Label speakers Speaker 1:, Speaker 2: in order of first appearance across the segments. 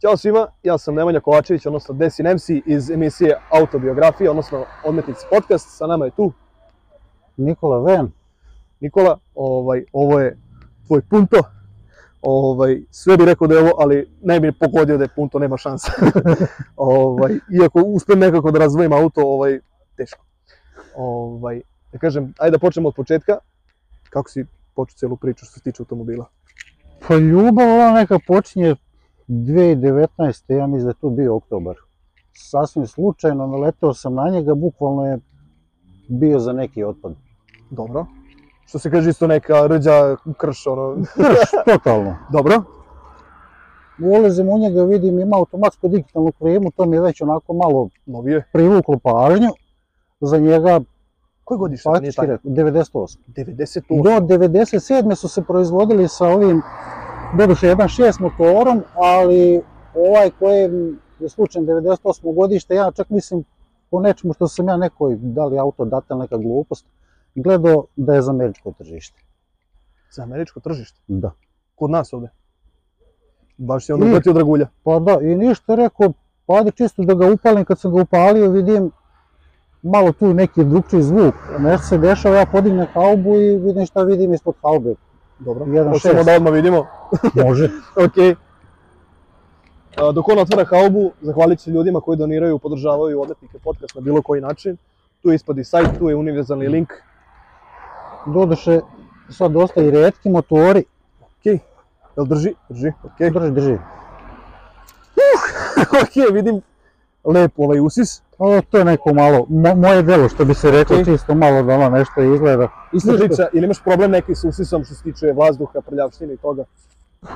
Speaker 1: Ćao svima, ja sam Nemanja Kovačević, odnosno Desi Nemsi iz emisije Autobiografija, odnosno Odmetnici podcast. Sa nama je tu
Speaker 2: Nikola Ven,
Speaker 1: Nikola, ovaj, ovo je tvoj punto. Ovaj, sve bi rekao da je ovo, ali ne bi pogodio da je punto, nema šansa. ovaj, iako uspem nekako da razvojim auto, ovaj, teško. Ovaj, da kažem, ajde da počnemo od početka. Kako si počeo celu priču što se tiče automobila?
Speaker 2: pa ljubav ova neka počinje 2019. ja mislim da je tu bio oktobar. Sasvim slučajno naleteo sam na njega, bukvalno je bio za neki otpad.
Speaker 1: Dobro. Što se kaže isto neka rđa krš, ono.
Speaker 2: Totalno.
Speaker 1: Dobro.
Speaker 2: Ulazim u njega, vidim ima automatsku digitalnu klimu, to mi je već onako malo
Speaker 1: Novije.
Speaker 2: privuklo pažnju. Za njega
Speaker 1: Koje godište? Da nije
Speaker 2: faktički
Speaker 1: tajna?
Speaker 2: rekao, 98.
Speaker 1: 98.
Speaker 2: Do 97. su se proizvodili sa ovim, doduše 1.6 motorom, ali ovaj koji je slučajan 98. godište, ja čak mislim po nečemu što sam ja nekoj, da li auto data neka glupost, gledao da je za američko tržište.
Speaker 1: Za američko tržište.
Speaker 2: Da.
Speaker 1: Kod nas ovde. Baš si onda
Speaker 2: I-
Speaker 1: uhvatio dragulja.
Speaker 2: Pa da, i ništa rekao, pa ajde čisto da ga upalim, kad sam ga upalio vidim malo tu neki drugčiji zvuk, nešto se dešava, ja podignem haubu i vidim šta vidim ispod haube.
Speaker 1: Dobro.
Speaker 2: Jedan
Speaker 1: Hoćemo
Speaker 2: šest.
Speaker 1: da odmah vidimo.
Speaker 2: Može.
Speaker 1: Ok. A, Dok on otvara haubu, zahvalit se ljudima koji doniraju, podržavaju odmetnike podcast na bilo koji način. Tu je ispadi sajt, tu je univerzalni
Speaker 2: Mm.
Speaker 1: link.
Speaker 2: Doduše, sad dosta i redki motori,
Speaker 1: Ok. Jel drži? Drži. Ok.
Speaker 2: Drži, drži.
Speaker 1: ok, vidim lep ovaj usis.
Speaker 2: O, Pa, to je neko malo, mo, moje delo što bi se reklo,
Speaker 1: Ok.
Speaker 2: čisto malo da ono nešto izgleda.
Speaker 1: Isto
Speaker 2: Ništa.
Speaker 1: priča, ili imaš problem neki s usisom što se tiče vazduha, prljavštine i toga?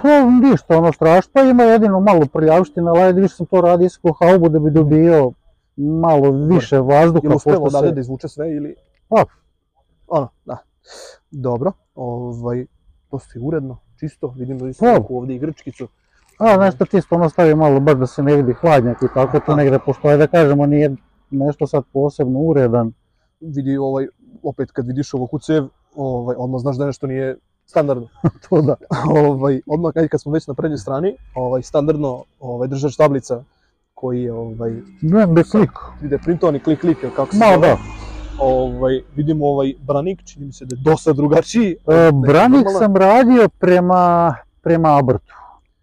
Speaker 2: Pa ništa, ono strašno, pa ima jedino malo prljavština, ali ajde više sam to radio isko haubu da bi dobio malo više vazduha,
Speaker 1: Ili uspeva
Speaker 2: pošto
Speaker 1: odavde da
Speaker 2: se...
Speaker 1: izvuče sve ili...
Speaker 2: Pa.
Speaker 1: Ono, da. Dobro, ovaj, to stoji uredno, čisto, vidim da isto
Speaker 2: Pa.
Speaker 1: neku ovde igračkicu.
Speaker 2: A, nešto čisto ono stavi malo, bar da se ne vidi hladnjak i tako to negde, pošto ajde da kažemo nije nešto sad posebno uredan.
Speaker 1: Vidi ovaj, opet kad vidiš ovu kucev, ovaj, odmah znaš da nešto nije standardno.
Speaker 2: To da.
Speaker 1: ovaj, odmah kad, kad smo već na prednjoj strani, ovaj, standardno ovaj, držač tablica koji je ovaj,
Speaker 2: Ne, bez slik.
Speaker 1: ide printovan i klik klik, ili kako se
Speaker 2: Malo
Speaker 1: zove.
Speaker 2: da.
Speaker 1: Ovaj, vidimo ovaj branik, čini mi se da je dosta drugačiji.
Speaker 2: E,
Speaker 1: Neki
Speaker 2: Branik
Speaker 1: normalan.
Speaker 2: sam radio prema, prema Abrtu,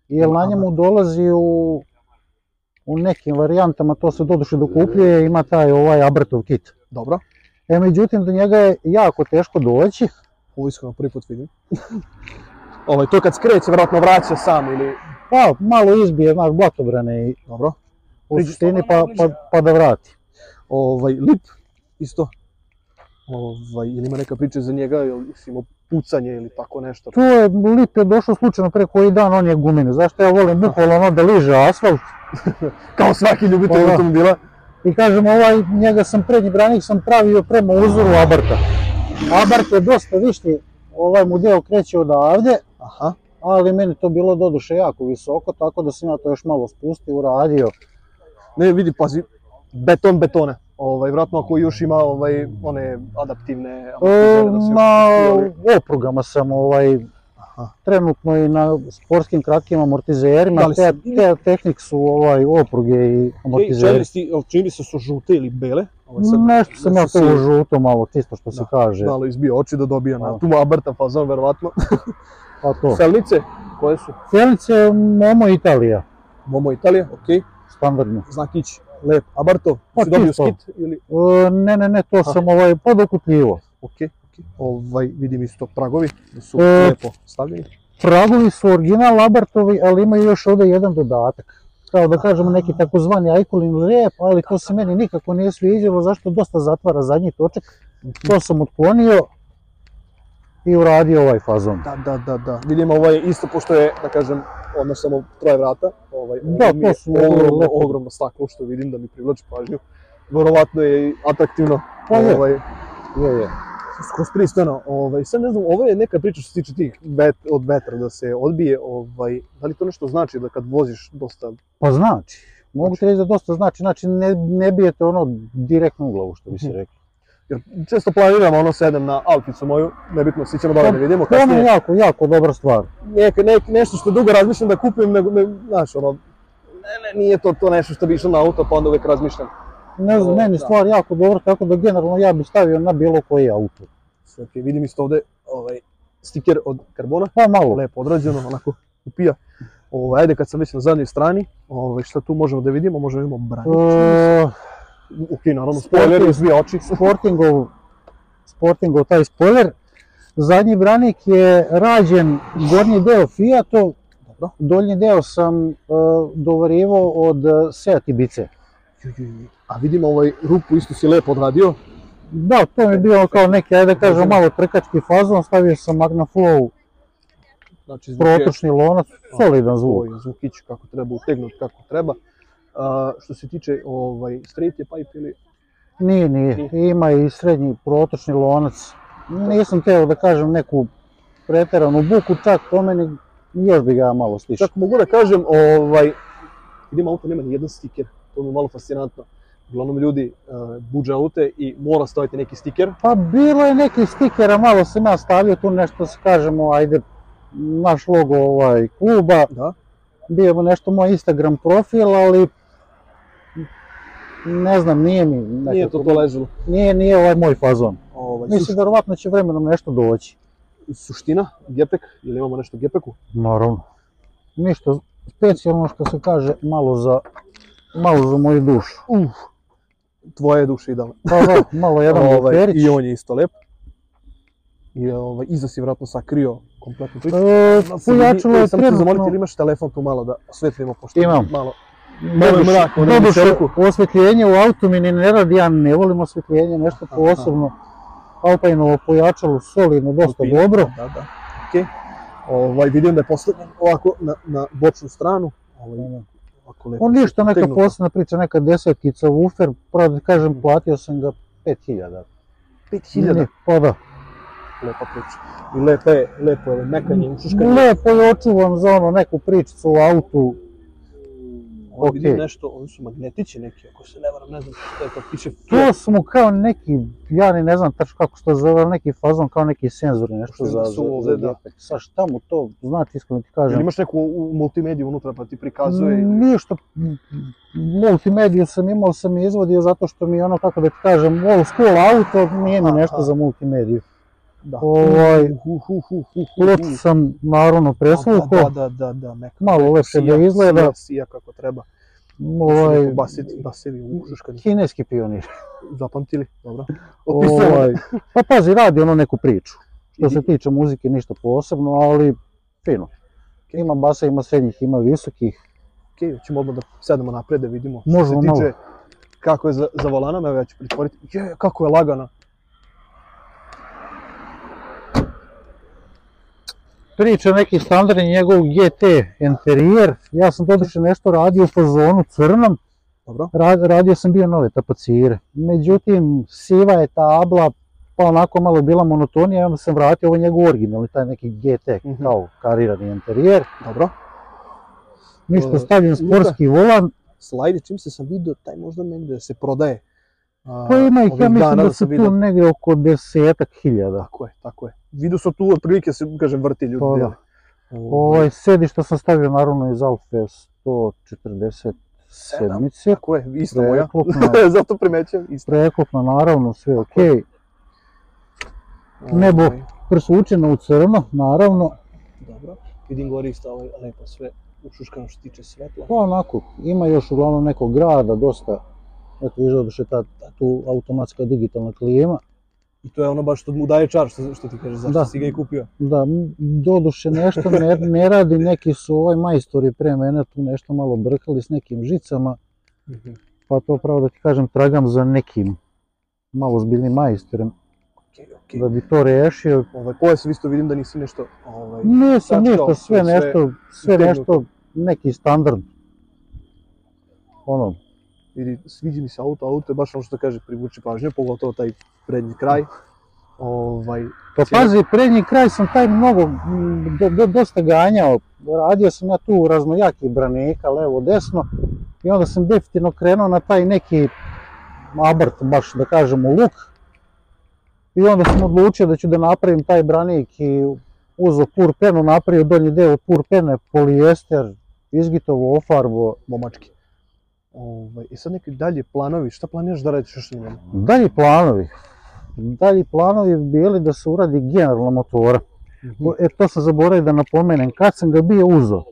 Speaker 2: jer
Speaker 1: Prema
Speaker 2: na njemu dolazi u, u nekim varijantama, to se doduše dokupljuje, ima taj ovaj Abrtov kit.
Speaker 1: Dobro,
Speaker 2: E, međutim, do njega je jako teško doći.
Speaker 1: ovo iskreno prvi put vidim. ovaj, to kad skreće, vjerojatno vraća sam ili...
Speaker 2: Pa, malo izbije, znaš, blatobrane i
Speaker 1: Dobro.
Speaker 2: u
Speaker 1: Priđi
Speaker 2: suštini, pa, pa, pa da vrati.
Speaker 1: Ovaj, lip, isto. Ovaj, ili ima neka priča za njega, ili si imao pucanje ili tako nešto.
Speaker 2: Tu je Lip je došao slučajno pre koji dan, on je gumin. Zašto ja volim bukvalno ono da liže asfalt
Speaker 1: Kao svaki ljubitelj
Speaker 2: Pa da.
Speaker 1: automobila.
Speaker 2: I kažem, ovaj, njega sam prednji branik sam pravio prema uzoru Abarta. Abart je dosta višti, ovaj mu deo kreće odavde,
Speaker 1: Aha,
Speaker 2: ali meni to bilo doduše jako visoko, tako da sam ja to još malo spustio, uradio.
Speaker 1: ne vidi, pazi, beton betona. Ovaj, vratno ako još ima ovaj, one adaptivne...
Speaker 2: E,
Speaker 1: amortizere da se još
Speaker 2: na
Speaker 1: pusti, ali-
Speaker 2: oprugama sam ovaj,
Speaker 1: Aha.
Speaker 2: trenutno i na sportskim kratkim amortizerima,
Speaker 1: Da li
Speaker 2: te,
Speaker 1: si-
Speaker 2: te tehnik su ovaj, opruge i
Speaker 1: Ej, čini mi
Speaker 2: amortizeri.
Speaker 1: se, jel čini mi se su žute ili bele? Ovaj sad
Speaker 2: Nešto sam
Speaker 1: da
Speaker 2: ja
Speaker 1: su
Speaker 2: to u
Speaker 1: sive.
Speaker 2: žuto malo, čisto što se
Speaker 1: Da,
Speaker 2: kaže.
Speaker 1: malo izbio oči da dobija na
Speaker 2: Da.
Speaker 1: tu abertan fazon, verovatno.
Speaker 2: Pa to.
Speaker 1: Selnice, koje su?
Speaker 2: Sjelice, Momo Italija,
Speaker 1: Momo Italija, okej.
Speaker 2: standardno.
Speaker 1: znakić, lep, Abarto,
Speaker 2: Pa
Speaker 1: si dobio
Speaker 2: čisto.
Speaker 1: skit ili...
Speaker 2: E, ne, ne, ne, to sam ovaj, podokupljivo.
Speaker 1: Ok, ok. Ovaj, vidim isto pragovi, da su
Speaker 2: E,
Speaker 1: lepo stavljeni.
Speaker 2: Pragovi su original Labartovi, ali imaju još ovde jedan dodatak. Kao da kažemo neki takozvani ajkulin rep, ali to se meni nikako nije sviđalo, zašto dosta zatvara zadnji točak. To sam otklonio i uradio ovaj fazon.
Speaker 1: Da, da, da, da. Vidim ovo je isto, pošto je, da kažem, odmah samo troje vrata. Ovaj, ovo
Speaker 2: Da,
Speaker 1: mi je
Speaker 2: to su ovo
Speaker 1: ogromno,
Speaker 2: lepo.
Speaker 1: ogromno staklo, što vidim da mi privlači pažnju. Verovatno je i atraktivno.
Speaker 2: Pa je.
Speaker 1: Ovaj,
Speaker 2: Je, je.
Speaker 1: skroz pristojno. Ovaj, sad ne znam, ovo je neka priča što se tiče tih vet, od vetra, da se odbije. Ovaj, da li to nešto znači da kad voziš dosta...
Speaker 2: Pa znači, mogu ti reći da dosta znači, znači ne, ne bijete ono direktno u glavu, što bi se
Speaker 1: Mhm.
Speaker 2: rekao.
Speaker 1: Jer često planiram, ono, sedem na alpicu moju, nebitno, svi ćemo dole da vidimo.
Speaker 2: To mi
Speaker 1: kasnije.
Speaker 2: Ono je jako, jako dobra stvar.
Speaker 1: nek, nek, nešto što dugo razmišljam da kupim, nego, ne, znaš, ono, ne, nije to, to nešto što bi išlo na auto, pa onda uvek razmišljam.
Speaker 2: Ne znam,
Speaker 1: O,
Speaker 2: meni
Speaker 1: da.
Speaker 2: stvar jako dobro, tako da generalno ja bih stavio na bilo koji auto.
Speaker 1: Sve, ok, vidim isto ovde ovaj, stiker od karbona,
Speaker 2: Pa malo.
Speaker 1: lepo odrađeno, onako upija. Ovaj, ajde, kad sam već na zadnjoj strani, ovaj, šta tu možemo da vidimo, možemo imamo branicu.
Speaker 2: E,
Speaker 1: Ok, naravno,
Speaker 2: sportiv.
Speaker 1: spoiler izbija oči.
Speaker 2: Sportingov, Sportingov taj spoiler. Zadnji branik je rađen gornji deo Fiatov,
Speaker 1: Dobro.
Speaker 2: donji deo sam e, dovarivao od e, Seat Ibice.
Speaker 1: Ju, ju, ju. A vidim ovaj rupu isto si lepo odradio.
Speaker 2: Da, to mi je bio kao neki, ajde da kažem, malo trkački fazon, stavio sam Magna Flow
Speaker 1: Znači, zvuk je-
Speaker 2: protočni lonac, solidan zvuk.
Speaker 1: Ovo je zvukić kako treba, utegnut kako treba. A, što se tiče ovaj, straight je pipe ili...
Speaker 2: Nije, nije, ima i srednji protočni lonac. Nisam teo da kažem neku preteranu buku, čak po meni još bi ga malo stišao.
Speaker 1: Čak mogu da kažem, ovaj, vidim auto nema ni jedan stiker, to mi je malo fascinantno. Uglavnom ljudi uh, buđe aute i mora staviti neki stiker.
Speaker 2: Pa bilo je nekih stikera, malo sam ja stavio tu nešto se kažemo, ajde, naš logo ovaj kluba,
Speaker 1: Da.
Speaker 2: bio je nešto moj Instagram profil, ali ne znam, nije mi nekako,
Speaker 1: Nije to to ležalo.
Speaker 2: nije, nije ovaj moj fazon.
Speaker 1: Ovaj,
Speaker 2: Mislim, verovatno će vremenom nešto doći.
Speaker 1: suš- suština, gepek, ili imamo nešto u gepeku?
Speaker 2: Naravno. Ništa specijalno što se kaže, malo za, malo za moju dušu.
Speaker 1: Uf, tvoje duše idealno.
Speaker 2: Pa da, malo jedan
Speaker 1: Ovaj,
Speaker 2: luferić.
Speaker 1: I on je isto lep. I ovaj, iza si vratno sakrio kompletnu priču.
Speaker 2: E, pojačalo
Speaker 1: Samo ću
Speaker 2: je
Speaker 1: zamoliti,
Speaker 2: trenutno,
Speaker 1: ili imaš telefon tu malo da osvetlimo, pošto
Speaker 2: Imam.
Speaker 1: malo
Speaker 2: Doduše-
Speaker 1: Malo je mrak, ono,
Speaker 2: doduše,
Speaker 1: u cerku.
Speaker 2: osvetljenje u autu mi ni ne radi, ja ne volim osvetljenje, nešto
Speaker 1: Aha.
Speaker 2: posebno. Alpinovo pojačalo solidno, dosta
Speaker 1: Alpino.
Speaker 2: dobro.
Speaker 1: Da, da. Okej. Ovaj, vidim da je postavljen ovako na, na bočnu stranu. Ovaj, ovako lepo.
Speaker 2: On ništa, neka
Speaker 1: Tegnuto.
Speaker 2: posebna priča, neka desetkica woofer, pravo da
Speaker 1: Hm.
Speaker 2: kažem, platio sam ga 5000.
Speaker 1: 5000.
Speaker 2: Ne, Pa da.
Speaker 1: Lepa priča. I lepo je, lepo je, mekanje, ušuškanje.
Speaker 2: Lepo je očuvan za ono neku pričicu u autu.
Speaker 1: Ovo Ovaj, vidim
Speaker 2: okej.
Speaker 1: nešto, oni su magnetići neki, ako se ne varam, ne znam što je to piše.
Speaker 2: To su mu kao neki, ja ni ne znam tačno kako se to zove, ali neki fazon kao neki senzori, nešto
Speaker 1: Što
Speaker 2: za,
Speaker 1: da
Speaker 2: za,
Speaker 1: su
Speaker 2: za,
Speaker 1: ovde, da.
Speaker 2: gepek. Sa šta mu to znači, iskreno ti
Speaker 1: Jel
Speaker 2: kažem.
Speaker 1: imaš neku u- multimediju unutra pa ti prikazuje?
Speaker 2: Ništa, multimediju sam imao, sam je izvodio zato što mi je ono, kako da ti kažem, old school auto, nije mi
Speaker 1: Aha.
Speaker 2: nešto za multimediju.
Speaker 1: Da.
Speaker 2: Ovaj,
Speaker 1: Hu, hu, hu, hu, hu,
Speaker 2: Loč
Speaker 1: hu.
Speaker 2: sam naravno
Speaker 1: Da,
Speaker 2: presvukao,
Speaker 1: da, da, da, meka.
Speaker 2: malo lepše da
Speaker 1: Sija,
Speaker 2: izgleda.
Speaker 1: sija, sija kako treba.
Speaker 2: Ovaj,
Speaker 1: Ovaj... Basiti, basevi, ušuškanje.
Speaker 2: kineski pionir.
Speaker 1: Zapamtili, dobro. Opisao.
Speaker 2: Ovaj, pa pazi, radi ono neku priču. Što
Speaker 1: Idi.
Speaker 2: se tiče muzike, ništa posebno, ali fino. Ima basa, ima srednjih, ima visokih.
Speaker 1: Okej, ćemo odmah da sedemo napred da vidimo.
Speaker 2: Možemo
Speaker 1: Što se
Speaker 2: malo.
Speaker 1: tiče kako je za, za volanama, evo ja ću pritvoriti. Je, kako je lagana.
Speaker 2: Priča neki standardni njegov GT interijer. Ja sam doduše nešto radio po zonu crnom,
Speaker 1: Dobro.
Speaker 2: Ra- radio sam bio nove tapacire. Međutim, siva je tabla, pa onako malo je bila monotonija, onda sam vratio ovo njegov originalni, taj neki GT,
Speaker 1: Mhm.
Speaker 2: kao karirani interijer.
Speaker 1: Dobro.
Speaker 2: Ništa,
Speaker 1: E,
Speaker 2: stavljen
Speaker 1: Luka?
Speaker 2: sportski volan,
Speaker 1: Slajde, čim se sam vidio, taj možda negde se prodaje. A,
Speaker 2: pa ima ih,
Speaker 1: ovih
Speaker 2: ja mislim
Speaker 1: dana
Speaker 2: da su
Speaker 1: sam
Speaker 2: tu
Speaker 1: vidio.
Speaker 2: negdje oko desetak hiljada.
Speaker 1: Tako je, tako je. Vidio sam tu otprilike se, kažem, vrti ljudi.
Speaker 2: Pa da.
Speaker 1: dele.
Speaker 2: Ovaj, sedišta sam stavio naravno iz Alfe 147.
Speaker 1: Tako je, ista moja.
Speaker 2: Preklopna,
Speaker 1: Zato primećujem, ista.
Speaker 2: preklopna naravno, sve okej.
Speaker 1: Ovaj,
Speaker 2: nebo. Presučena u crno, naravno,
Speaker 1: Dobro. Vidim gore isto ovaj, lepo sve ušuškano što se tiče svetla.
Speaker 2: Pa onako, ima još uglavnom nekog grada, dosta, eto viš doduše ta, ta tu automatska digitalna klima.
Speaker 1: I to je ono baš što mu daje čar, što, što ti kaže, zašto
Speaker 2: Da.
Speaker 1: si ga i kupio.
Speaker 2: Da, m, doduše nešto ne, ne radi, neki su ovaj majstori pre mene tu nešto malo brkali s nekim žicama,
Speaker 1: Mhm.
Speaker 2: pa to pravo da ti kažem tragam za nekim malo zbiljnim majstorem
Speaker 1: Okej, okej.
Speaker 2: da bi to rešio.
Speaker 1: Ovaj pojas isto vidim da nisi nešto ovaj
Speaker 2: Nisam
Speaker 1: Sad što,
Speaker 2: ništa, sve
Speaker 1: sve-
Speaker 2: nešto, sve
Speaker 1: utegnuto.
Speaker 2: nešto, neki standard. Ono,
Speaker 1: vidi sviđa mi se auto, auto je baš ono što kaže privuče pažnju, pogotovo taj prednji kraj. Ovaj
Speaker 2: Pa
Speaker 1: Cijelo-
Speaker 2: pazi, prednji kraj sam taj mnogo, m, do, do, dosta ganjao. Radio sam ja tu raznojaki branika, levo, desno. I onda sam definitivno krenuo na taj neki abart, baš da kažemo, luk. I onda sam odlučio da ću da napravim taj branik i uzo pur penu, napravio donji deo od pur pene, polijester, izgitovo, ofarbo.
Speaker 1: momački. Ovaj, I sad neki dalje planovi, šta planiraš da radiš još s njima?
Speaker 2: Dalji planovi. Dalji planovi bi bili da se uradi generalna motora. O, E, to sam zaboravio da napomenem. Kad sam ga bio uzo,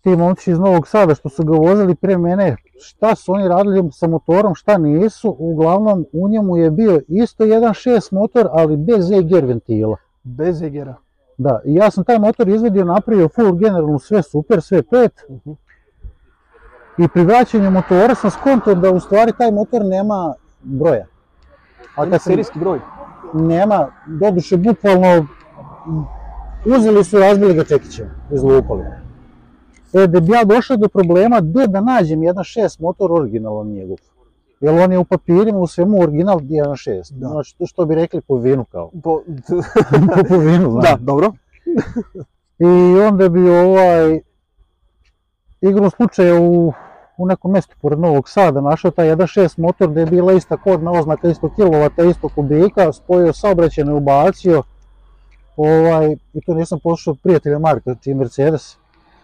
Speaker 2: ti momci iz Novog Sada što su ga vozili pre mene, šta su oni radili sa motorom, šta nisu, uglavnom u njemu je bio isto 1.6 motor, ali bez EGR ventila.
Speaker 1: Bez egera.
Speaker 2: Da, i ja sam taj motor izvedio, napravio full generalno, sve super, sve pet,
Speaker 1: Mhm.
Speaker 2: i pri vraćanju motora sam skontao da u stvari taj motor nema broja.
Speaker 1: A
Speaker 2: kad
Speaker 1: kad
Speaker 2: sam-
Speaker 1: serijski broj?
Speaker 2: nema, doduše bukvalno uzeli su i razbili ga čekićem, izlupali. E, da bi ja došao do problema, gde da nađem 1.6 motor originalan njegov? Jer on je u papirima, u svemu original 1.6.
Speaker 1: Da.
Speaker 2: Znači, to što bi rekli po vinu kao.
Speaker 1: Po,
Speaker 2: po vinu, znaš.
Speaker 1: da, dobro.
Speaker 2: I onda bi ovaj, igrom slučaja u, u nekom mjestu pored Novog Sada našao taj 1.6 motor gdje je bila ista kodna oznaka, isto kilovata, isto kubika, spojio saobraćene, ubacio. Ovaj, I to nisam poslušao od prijatelja Marka, čiji je Mercedes.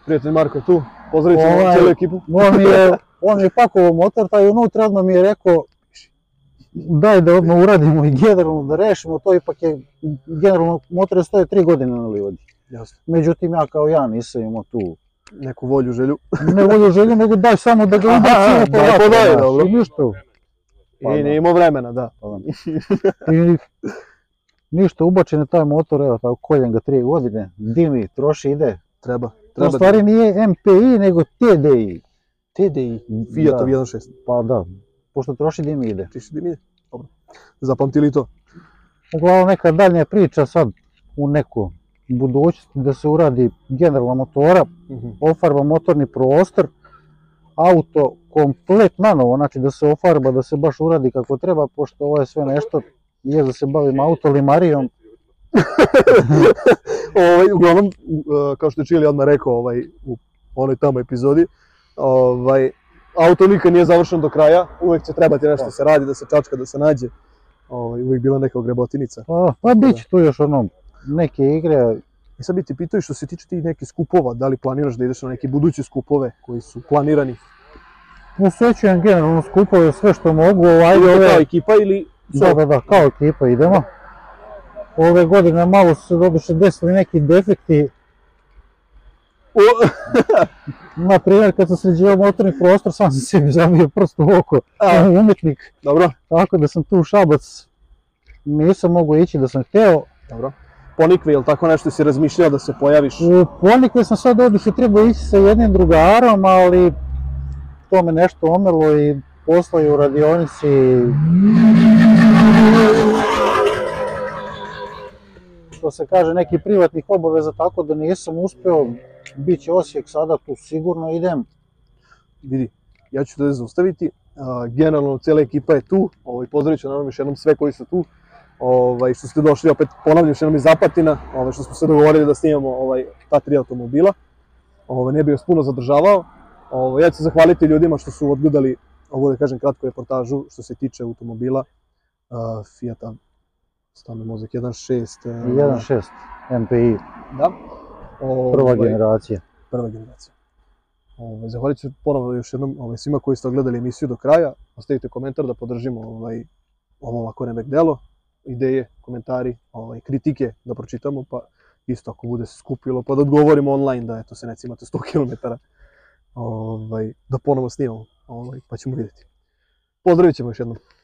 Speaker 1: Prijatelj Marko je tu, pozdravite
Speaker 2: Ovaj-
Speaker 1: cijelu ekipu.
Speaker 2: On mi je, on mi je pakovao motor, taj unutra odmah mi je rekao daj da odmah uradimo i generalno da rešimo, to ipak je, generalno motor stoje tri godine na livadi.
Speaker 1: Jasno.
Speaker 2: Međutim, ja kao ja nisam imao tu
Speaker 1: Neku volju, želju.
Speaker 2: Ne volju želju, nego daj samo da ga
Speaker 1: Aha,
Speaker 2: ubacimo
Speaker 1: da je podaj, dobro.
Speaker 2: I ništa. Pa
Speaker 1: I
Speaker 2: da.
Speaker 1: nije imao E, vremena, da.
Speaker 2: I ništa, ubačen je taj motor, evo tako, koljem ga tri godine, dimi, troši, ide.
Speaker 1: Treba.
Speaker 2: To u
Speaker 1: Treba.
Speaker 2: stvari nije MPI, nego TDI.
Speaker 1: TDI.
Speaker 2: Da.
Speaker 1: Fiatov 1.6.
Speaker 2: Pa da, pošto troši dimi ide.
Speaker 1: Čiši dimine. Dobro. Zapamtili to.
Speaker 2: Uglavnom neka daljnja priča sad u neku budućnosti da se uradi generalna motora, ofarba motorni prostor, auto komplet nanovo, znači da se ofarba, da se baš uradi kako treba, pošto ovo je sve nešto, je da se bavim autolimarijom,
Speaker 1: ovaj, uglavnom, u- e, kao što je Čili odmah rekao ovaj, u onoj tamo epizodi, ovaj, auto nikad nije završen do kraja, uvek će trebati nešto da se radi, da se čačka, da se nađe. Ovaj, uvek bila neka ogrebotinica.
Speaker 2: pa, pa bit će tu još ono, neke igre,
Speaker 1: I E, sad bi ti pitao i što se tiče tih nekih skupova, da li planiraš da ideš na neke buduće skupove koji su planirani?
Speaker 2: posjećujem generalno skupove sve što mogu, ovaj,
Speaker 1: Ili
Speaker 2: ove,
Speaker 1: kao ekipa ili...
Speaker 2: da, da, da, kao ekipa idemo. Ove godine malo su se doduše desili neki defekti,
Speaker 1: O,
Speaker 2: na primjer kad sam sređivao motorni prostor sam sam sebi zabio prst u oko, Ono
Speaker 1: a,
Speaker 2: umetnik,
Speaker 1: dobro,
Speaker 2: Tako da sam tu u Šabac, nisam mogu ići da sam hteo.
Speaker 1: dobro. Ponikve ili tako nešto si razmišljao da se pojaviš?
Speaker 2: U Ponikve sam sad oduše trebao ići sa jednim drugarom, ali to me nešto omelo i poslao je u radionici. Što se kaže, neki privatnih obaveza, tako da nisam uspeo. Biće Osijek sada, tu sigurno idem.
Speaker 1: vidi, ja ću te zaustaviti, a, generalno cijela ekipa je tu, ovaj, pozdravit ću naravno još jednom sve koji su tu, ovaj, što ste došli, opet ponavljam još jednom iz Zapatina, ovaj, što smo se dogovorili da snimamo ovaj, ta tri automobila, ovaj, ne bih vas puno zadržavao, ovaj, ja ću se zahvaliti ljudima što su odgledali ovu, da kažem, kratku reportažu što se tiče automobila, a, Fiata, stavno mozak 1.6,
Speaker 2: 1.6 MPI,
Speaker 1: da, ovaj,
Speaker 2: prva generacija.
Speaker 1: prva generacija. Ovaj, zahvalit ću ponovo još jednom ovaj, svima koji ste gledali emisiju do kraja. Ostavite komentar da podržimo ovaj, ovo ovako rebek delo. Ideje, komentari, ovaj, kritike da pročitamo, pa isto ako bude se skupilo, pa da odgovorimo online da eto se recimo imate 100 km. Ovaj, da ponovo snimamo, ovaj, pa ćemo vidjeti. Pozdravit ćemo još jednom.